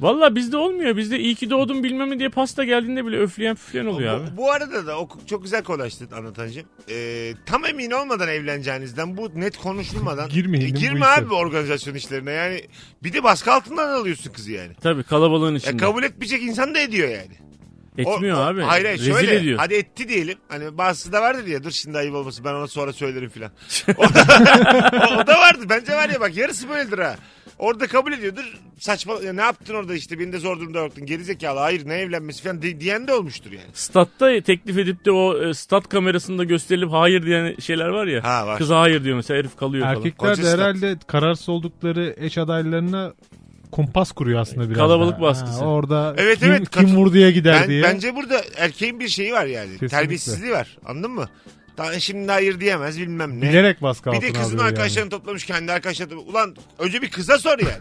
D: Valla bizde olmuyor. Bizde iyi ki doğdun bilmem ne diye pasta geldiğinde bile öfleyen püfleyen oluyor abi.
B: Bu, bu arada da o çok güzel konuştun anlatancığım. Ee, tam emin olmadan evleneceğinizden bu net
C: <laughs>
B: konuşulmadan.
C: Girmeyin değil mi
B: girme
C: bu
B: abi
C: işe?
B: bu organizasyon işlerine yani. Bir de baskı altından alıyorsun kızı yani.
D: Tabii kalabalığın
B: Ya
D: içinde.
B: E, kabul etmeyecek insan da ediyor yani. O-
D: Etmiyor
B: o-
D: abi.
B: Hayır hayır
D: Rezil
B: şöyle.
D: ediyor.
B: Hadi etti diyelim. Hani bazısı da vardır ya dur şimdi ayıp olmasın ben ona sonra söylerim
C: <laughs>
B: filan. o, o- o da <laughs> vardı. Bence var ya bak yarısı böyledir ha. Orada kabul ediyordur. Saçma ya ne yaptın orada işte beni de zor durumda bıraktın. Gerizekalı hayır ne evlenmesi falan di- diyen de olmuştur yani.
D: Statta teklif edip de o e, stat kamerasında gösterilip hayır diyen şeyler var ya.
B: Ha, var.
D: Kız hayır diyor mesela herif kalıyor falan.
C: Erkekler
B: Koca
C: de
B: stat.
C: herhalde kararsız oldukları eş adaylarına kumpas kuruyor aslında biraz.
D: Kalabalık
C: daha.
D: baskısı.
C: Ha, orada
B: Evet,
C: kim,
B: evet,
C: kim
B: katıl-
C: vurduya gider
B: Ben-
C: diye.
B: Bence burada erkeğin bir şeyi var yani.
C: Kesinlikle.
B: Terbiyesizliği var. Anladın mı? Daha şimdi hayır diyemez bilmem ne.
C: Bilerek baskı
B: bir
C: altına
B: de
C: alıyor.
B: kızın
C: yani.
B: arkadaşlarını toplamış kendi arkadaşlarını toplamış. Ulan önce bir kıza sor
C: <laughs>
B: yani.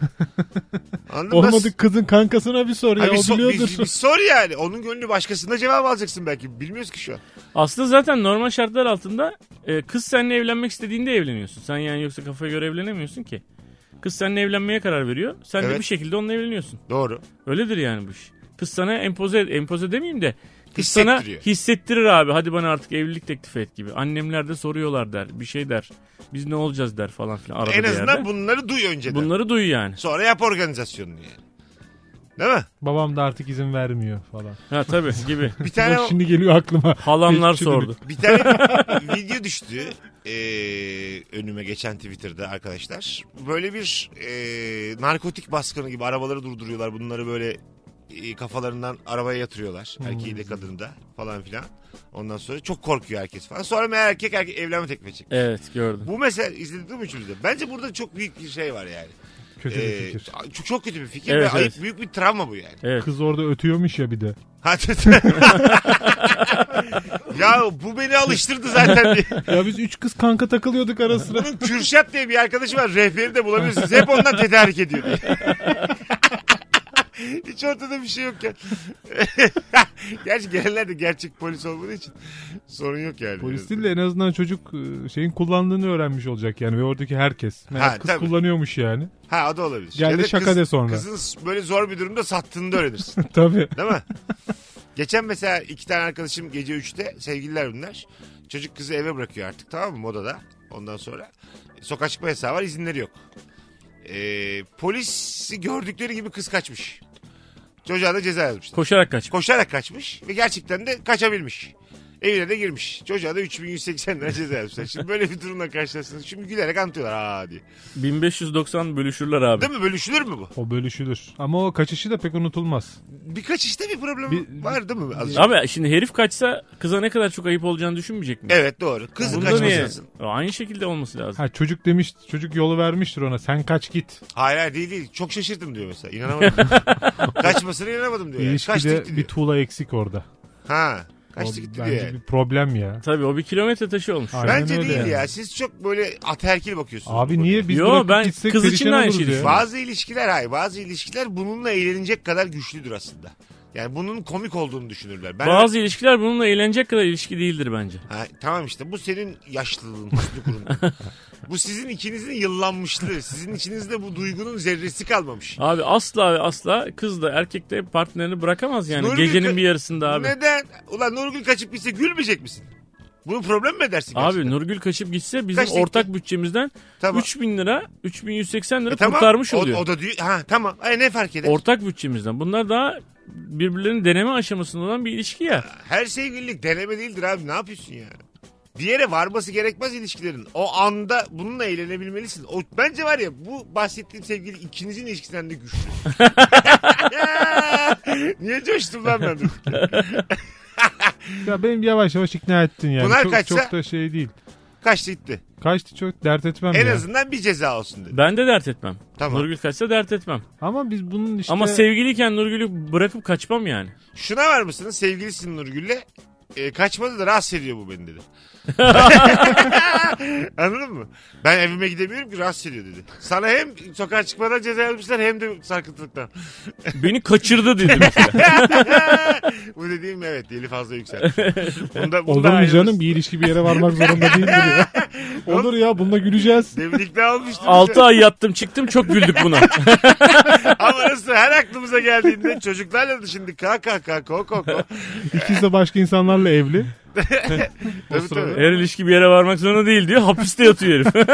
B: Anladın mı?
C: Olmadı kızın kankasına bir sor ya
B: Ha, Hani bir, so-
C: o biliyordur.
B: bir- bir sor yani. Onun gönlü başkasında cevap alacaksın belki. Bilmiyoruz ki şu an.
D: Aslında zaten normal şartlar altında e, kız seninle evlenmek istediğinde evleniyorsun. Sen yani yoksa kafaya göre evlenemiyorsun ki. Kız seninle evlenmeye karar veriyor. Sen de
B: Evet.
D: bir şekilde onunla evleniyorsun.
B: Doğru.
D: Öyledir yani bu iş. Kız sana empoze, empoze demeyeyim de kız sana
B: Hissettiriyor.
D: hissettirir abi. Hadi bana artık evlilik teklif et gibi. Annemler de soruyorlar der. Bir şey der. Biz ne olacağız der falan filan. Arada
B: en
D: bir
B: azından
D: yerde.
B: bunları duy önceden.
D: bunları duy yani.
B: Sonra yap organizasyonunu yani. Değil mi?
C: Babam da artık izin vermiyor falan.
B: <laughs>
D: Ha tabii gibi. <laughs>
B: Bir tane
C: Bak şimdi geliyor aklıma.
D: Halamlar
C: Çürüdük.
D: sordu.
B: bir tane
C: <laughs>
B: video düştü ee, önüme geçen Twitter'da arkadaşlar. Böyle bir ee, narkotik baskını gibi arabaları durduruyorlar. Bunları böyle ee, kafalarından arabaya yatırıyorlar.
C: Hmm.
B: Erkeğiyle kadını da falan filan. Ondan sonra çok korkuyor herkes falan. Sonra meğer erkek, erkek evlenme teklifi çekmiş.
D: Evet gördüm.
B: Bu mesela izledik değil mi üçümüzde? Bence burada çok büyük bir şey var yani.
C: Kötü
B: Ee,
C: bir fikir.
B: Çok, çok kötü bir fikir
D: Evet,
B: ve ayıp
D: evet.
B: büyük bir travma bu yani. <laughs>
D: Evet.
C: Kız orada ötüyormuş ya bir de.
B: Ha, ya bu beni alıştırdı zaten.
C: <laughs>
B: diye.
C: Ya biz üç kız kanka takılıyorduk
B: <laughs>
C: ara sıra.
B: Bunun Kürşat diye bir arkadaşı var. Rehberi de bulabilirsiniz. Hep ondan tedarik ediyor diye. <laughs> Hiç ortada bir şey yokken. <laughs> Gerçi gelenler de gerçek polis olmadığı için sorun yok yani.
C: Polis değil de en azından çocuk e, şeyin kullandığını öğrenmiş olacak yani ve oradaki herkes. Meğer
B: Ha,
C: kız
B: tabii.
C: kullanıyormuş yani. <laughs>
B: Ha o da olabilir.
C: Gel
B: Ya
C: de
B: da
C: şaka
B: kız-
C: de sonra.
B: Kızın böyle zor bir durumda sattığını da öğrenirsin.
C: Tabii.
B: Değil mi? <laughs> Geçen mesela iki tane arkadaşım gece 3'te sevgililer bunlar. Çocuk kızı eve bırakıyor artık tamam mı modada. Ondan sonra sokağa çıkma yasağı var izinleri yok. Ee, polisi gördükleri gibi kız kaçmış. Çocuğa da ceza yazmışlar.
D: Koşarak kaç.
B: Koşarak kaçmış ve gerçekten de kaçabilmiş. Evine de girmiş. Çocuğa da 3180 lira ceza yazmışlar. Şimdi böyle bir durumla karşılaştınız. Şimdi gülerek anlatıyorlar aa diye.
D: 1590 bölüşürler abi.
B: Değil mi? Bölüşülür mü bu?
C: O bölüşülür. Ama o kaçışı da pek unutulmaz.
B: Birkaç işte bir problem
C: Bir-
B: var değil mi? Azıcık.
D: Abi şimdi herif kaçsa kıza ne kadar çok ayıp olacağını düşünmeyecek mi?
B: Evet doğru. Kızın
D: Bunda
B: kaçması
D: niye?
B: lazım.
D: Aynı şekilde olması lazım.
C: Ha çocuk demiş, çocuk yolu vermiştir ona. Sen kaç git.
B: Hayır hayır değil değil. Çok şaşırdım diyor mesela. İnanamadım.
C: <laughs>
B: Kaçmasına inanamadım diyor. Yani. Kaçtı
C: İlişkide
B: gitti
C: bir
B: diyor.
C: tuğla eksik orada.
B: Ha.
C: O
B: Kaçtı gitti
C: bence
B: diyor. yani.
C: bir problem ya.
D: Tabii o bir kilometre taşı olmuş.
C: Aynen
B: Bence
C: öyle
B: değil
C: yani.
B: ya. Siz çok böyle ataerkil bakıyorsunuz. bu
C: Abi
B: konuya.
C: niye biz
D: Yo,
C: bırakıp
D: ben-
C: gitsek
D: kız için
C: perişan
D: de aynı şey
C: oluruz
D: şeyi
C: ya.
D: düşünüyorum.
B: Bazı ilişkiler hayır. Bazı ilişkiler bununla eğlenecek kadar güçlüdür aslında. Yani bunun komik olduğunu düşünürler. Ben
D: Bazı ilişkiler bununla eğlenecek kadar ilişki değildir bence.
B: Ha, tamam işte bu senin yaşlılığın, hüsnü kurun. bu sizin ikinizin yıllanmışlığı. Sizin içinizde bu duygunun zerresi kalmamış.
D: Abi asla ve asla kız da erkek de partnerini bırakamaz yani
B: Nurgül
D: gecenin
B: ka-
D: bir yarısında abi.
B: Neden? Ulan Nurgül kaçıp gitse gülmeyecek misin? Bunu problem mi edersin?
D: Abi Nurgül kaçıp gitse bizim
B: Kaç gitti?
D: ortak bütçemizden
B: Tamam.
D: 3000 lira 3180 lira
B: E tamam,
D: kurtarmış
B: o-
D: oluyor.
B: O, da diyor. Ha tamam. Ay, ne fark eder?
D: Ortak bütçemizden. Bunlar daha birbirlerinin deneme aşamasında olan bir ilişki ya.
B: Her sevgililik deneme değildir abi. Ne yapıyorsun ya? Bir yere varması gerekmez ilişkilerin. O anda bununla eğlenebilmelisin. O, bence var ya bu bahsettiğim sevgili ikinizin ilişkisinden de güçlü. Niye coştum lan ben?
C: Ya benim yavaş yavaş ikna ettin yani.
B: Bunlar
C: çok,
B: kaçsa-
C: çok da şey değil.
B: Kaçtı gitti.
C: Kaçtı çok dert etmem
B: En
C: ya.
B: azından bir ceza olsun dedi.
D: Ben de dert etmem.
B: Tamam.
D: Nurgül kaçsa dert etmem.
C: Ama biz bunun işte...
D: Ama sevgiliyken Nurgül'ü bırakıp kaçmam yani.
B: Şuna var mısınız? Sevgilisin Nurgül'le. E, kaçmadı da rahatsız ediyor bu beni dedi. Anladın mı? Ben evime gidemiyorum ki rahatsız ediyor dedi. Sana hem sokağa çıkmadan ceza yapmışlar hem de sarkıntılıktan.
D: Beni kaçırdı dedim.
B: <laughs> bu dediğim evet deli fazla yükseldi. Bunda,
C: Olur mu canım bir ilişki bir yere varmak zorunda
B: <laughs>
C: değildir ya. Olur ya bununla güleceğiz.
B: Demirlikle almıştım.
D: 6 ay yattım çıktım çok güldük buna.
B: Ama nasıl her aklımıza geldiğinde çocuklarla da şimdi kah kah kah ko ko ko.
C: İkisi de başka insanlarla evli.
B: Tabii tabii.
D: Her ilişki bir yere varmak zorunda değil diyor. Hapiste yatıyor herif.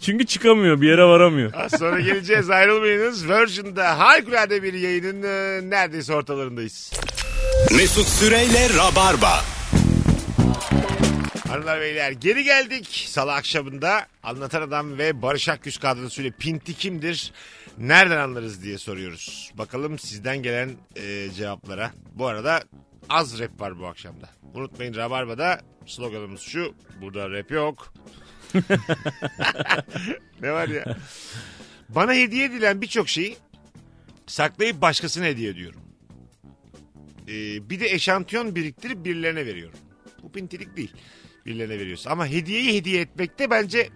D: <laughs> Çünkü çıkamıyor bir yere varamıyor.
B: Az sonra geleceğiz ayrılmayınız. Virgin'da harikulade bir yayının e, neredeyse ortalarındayız.
A: Mesut Süreyle Rabarba.
B: Hanımlar beyler geri geldik. Salı akşamında Anlatan Adam ve Barış Akgüz kadrosuyla Pinti kimdir? Nereden anlarız diye soruyoruz. Bakalım sizden gelen e, cevaplara. Bu arada az rap var bu akşamda. Unutmayın Rabarba'da sloganımız şu. Burada rap yok. <laughs> ne var ya? Bana hediye edilen birçok şeyi saklayıp başkasına hediye ediyorum. E, bir de eşantiyon biriktirip birilerine veriyorum. Bu pintilik değil birilerine veriyorsun. Ama hediyeyi hediye etmekte bence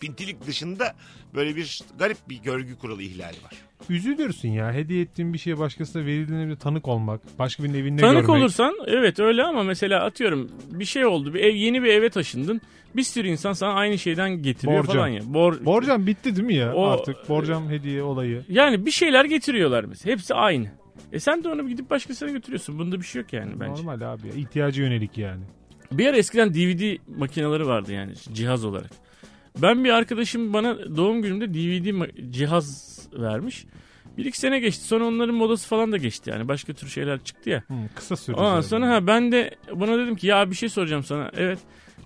B: pintilik dışında böyle bir garip bir görgü kuralı ihlali var.
C: Üzülürsün ya hediye ettiğin bir şeye başkasına verildiğine bile tanık olmak. Başka birinin evinde
D: Tanık
C: görmek.
D: olursan evet öyle ama mesela atıyorum bir şey oldu bir ev yeni bir eve taşındın. Bir sürü insan sana aynı şeyden getiriyor
C: Borcam.
D: falan ya. Bor-
C: Borcam bitti değil mi ya
D: O-
C: artık? Borcam hediye olayı.
D: Yani bir şeyler getiriyorlar mesela. Hepsi aynı. E sen de onu gidip başkasına götürüyorsun. Bunda bir şey yok yani bence.
C: Normal abi ya. İhtiyacı yönelik yani.
D: Bir ara eskiden DVD makineleri vardı yani cihaz olarak. Ben bir arkadaşım bana doğum günümde DVD ma- cihaz vermiş. Bir iki sene geçti. Sonra onların modası falan da geçti yani. Başka tür şeyler çıktı ya.
C: Hı, kısa sürdü.
D: Aa,
C: zaten.
D: sonra ha ben de buna dedim ki ya bir şey soracağım sana. Evet.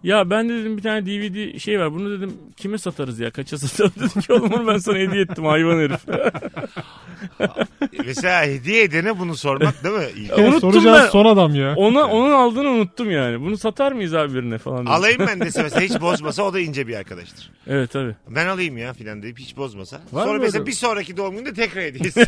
D: Ya ben de dedim bir tane DVD şey var. Bunu dedim kime satarız ya? Kaça satarız? <laughs> Dedim ki oğlum onu ben sana hediye ettim hayvan herif.
B: E, Mesela <laughs> hediye edene bunu sormak değil mi? İyi.
C: Ya
D: unuttum
C: soracağın
D: ben.
C: son adam ya.
D: Ona onun aldığını unuttum yani. Bunu satar mıyız abi birine falan dedim.
B: Alayım ben dese mesela hiç bozmasa o da ince bir arkadaştır.
D: Evet tabii.
B: Ben alayım ya filan deyip hiç bozmasa.
C: Var
B: Sonra
C: mı
B: mesela
C: öyle?
B: bir sonraki doğum gününde tekrar hediye.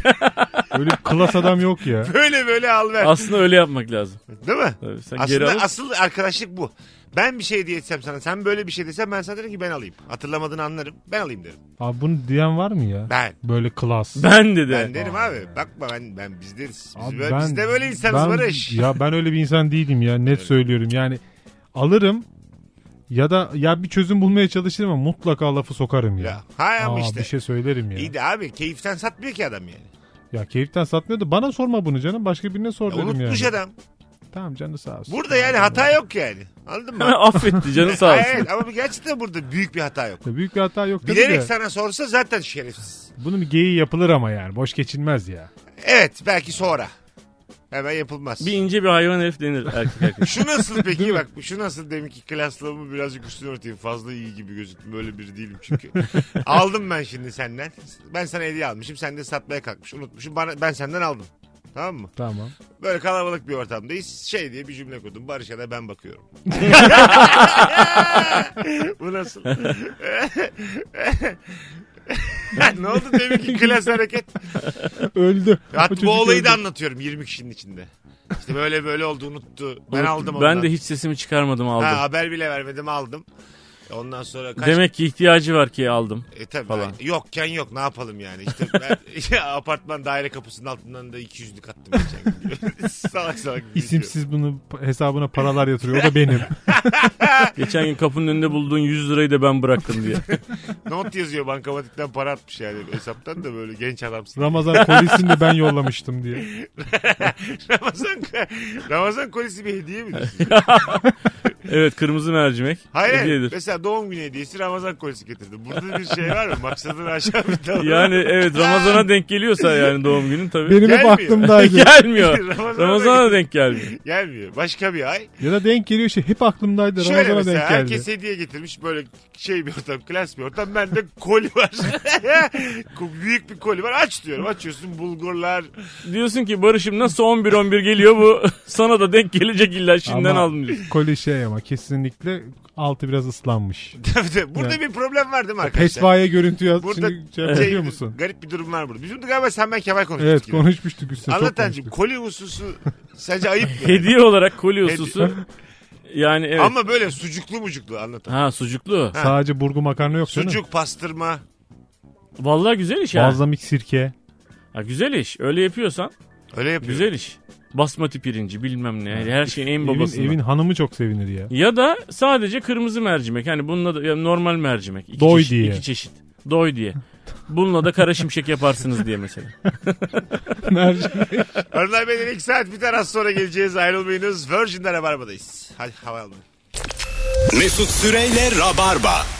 C: Öyle bir klas adam yok ya.
B: <laughs> böyle böyle al ver.
D: Aslında öyle yapmak lazım.
B: değil mi?
D: Tabii, sen geri
B: Aslında
D: alıp-
B: asıl arkadaşlık bu. Ben bir şey hediye etsem sana sen böyle bir şey desem ben sana derim ki ben alayım. Hatırlamadığını anlarım ben alayım derim.
C: Abi bunu diyen var mı ya?
B: Ben.
C: Böyle klas.
D: Ben de de.
B: Ben derim abi. Bakma ben ben biz deriz. Biz,
C: Abi
B: böyle, biz de böyle insanız
C: ben-
B: Barış.
C: Ya ben öyle bir insan değilim ya net söylüyorum. Yani alırım ya da ya bir çözüm bulmaya çalışırım ama mutlaka lafı sokarım ya.
B: Ya, hay ama
C: Aa,
B: işte.
C: Bir şey söylerim ya.
B: İyi de abi keyiften satmıyor ki adam yani.
C: Ya keyiften satmıyor da bana sorma bunu canım. Başka birine sor
B: Ya
C: dedim
B: unutmuş
C: yani.
B: adam.
C: Tamam canı sağ olsun.
B: Burada yani hata yok yani. Anladın
C: <laughs>
B: mı?
D: <laughs> Affetti canı sağ olsun.
B: Evet ama gerçekten burada büyük bir hata yok.
C: Ya Büyük bir hata yok tabii
B: Bilerek
C: de.
B: sana sorsa zaten şerefsiz.
C: Bunun bir geyiği yapılır ama yani. Boş geçilmez ya.
B: Evet belki sonra. Hemen yapılmaz.
D: Bir ince bir hayvan herif denir erkek erkek.
B: Şu nasıl peki bak şu nasıl demek ki klaslığımı birazcık üstüne örteyim fazla iyi gibi gözüktüm öyle biri değilim
C: <laughs>
B: çünkü. aldım ben şimdi senden. Ben sana hediye almışım sen de satmaya kalkmış unutmuşum bana, ben senden aldım. Tamam mı?
C: Tamam. <laughs>
B: Böyle kalabalık bir ortamdayız. Şey diye bir cümle kurdum. Barış'a da ben
C: <laughs>
B: bakıyorum. <laughs> Bu nasıl? <laughs> ne oldu deminki klas hareket?
C: Öldü. O
B: Hatta
C: çocuk
B: bu olayı
C: öldü.
B: da anlatıyorum 20 kişinin içinde. İşte böyle böyle oldu unuttu. <laughs> Ben aldım
D: Ben
B: ondan.
D: de hiç sesimi çıkarmadım aldım.
B: Ha, haber bile vermedim aldım. Ondan sonra kaç...
D: Demek ki ihtiyacı var ki aldım.
B: E tabii
D: falan.
B: ben- yokken yok ne yapalım yani. İşte
D: <laughs>
B: ben <laughs> ya apartman daire kapısının altından da 200'lük attım geçen gün. <laughs> salak salak.
C: İsimsiz bunu hesabına paralar yatırıyor. O
B: <laughs>
C: da benim.
D: Geçen gün kapının önünde bulduğun 100 lirayı da ben bıraktım
B: <laughs>
D: diye.
B: Not yazıyor bankamatikten para atmış yani hesaptan da böyle genç adamsın.
C: Ramazan kolisini de ben yollamıştım diye.
B: <laughs> Ramazan, Ramazan kolisi bir hediye
D: <laughs>
B: midir?
D: Evet kırmızı mercimek.
B: Hayır hayır. <laughs>
D: Hediyedir.
B: mesela doğum günü hediyesi Ramazan kolisi getirdi. Burada bir şey var mı? Maksadını aşağı
D: <laughs>
B: bir tavır.
D: Yani evet Ramazan'a denk geliyorsa yani doğum günün tabii. <laughs>
C: Benim hep
B: Gelmiyor. <laughs>
C: aklımdaydı.
D: gelmiyor.
B: Ramazan'a
D: Ramazan'a denk gelmiyor.
B: <laughs> Gelmiyor. Başka bir ay.
C: ya da denk geliyor şey. Hep aklımdaydı.
B: Şöyle
C: Ramazan'a
B: mesela
C: denk geldi.
B: herkes hediye getirmiş böyle şey bir ortam klas bir ortam bende koli var <laughs> Ko- büyük bir koli var aç diyorum açıyorsun bulgurlar <laughs>
D: Diyorsun ki Barış'ım nasıl 11-11 geliyor bu <laughs> sana da denk gelecek illa şimdiden
C: Ama
D: aldım diyorsun.
C: Koli şey ama kesinlikle altı biraz
B: <laughs>
C: ıslanmış.
B: Tabii tabii. burada
C: Yani.
B: bir problem var değil mi arkadaşlar?
C: Pesvaya görüntü yaz.
B: Burada
C: Şimdi şey yapıyor musun?
B: garip bir durum var burada. Bizim de galiba sen ben Kemal konuştuk.
C: Evet konuşmuştuk üstüne çok
B: Anlat
C: konuştuk.
B: Tanrıcığım, koli hususu sence ayıp
C: <laughs>
B: mı?
D: Hediye olarak kolye hususu. Yani evet.
B: Ama böyle sucuklu mucuklu anlat.
D: Ha sucuklu.
C: Sadece burgu makarna yok canım.
B: Sucuk, pastırma.
D: Vallahi güzel iş ha.
C: Balzamik sirke.
D: ha. Güzel iş. Öyle yapıyorsan
B: Öyle yapıyor.
D: güzel iş. Basmati pirinci bilmem ne. Her şeyin en babası.
C: Evin, evin hanımı çok sevinir ya.
D: Ya da sadece kırmızı mercimek. Hani bununla da ya normal mercimek. İki
C: Doy
D: çeşit,
C: diye.
D: iki çeşit. Doy diye. Bununla da kara şimşek yaparsınız diye mesela.
B: Arınlar Bey'den ilk saat biter az sonra geleceğiz ayrılmayınız. Virgin'de Rabarba'dayız. Hadi hava alın.
A: Mesut Süreyle Rabarba.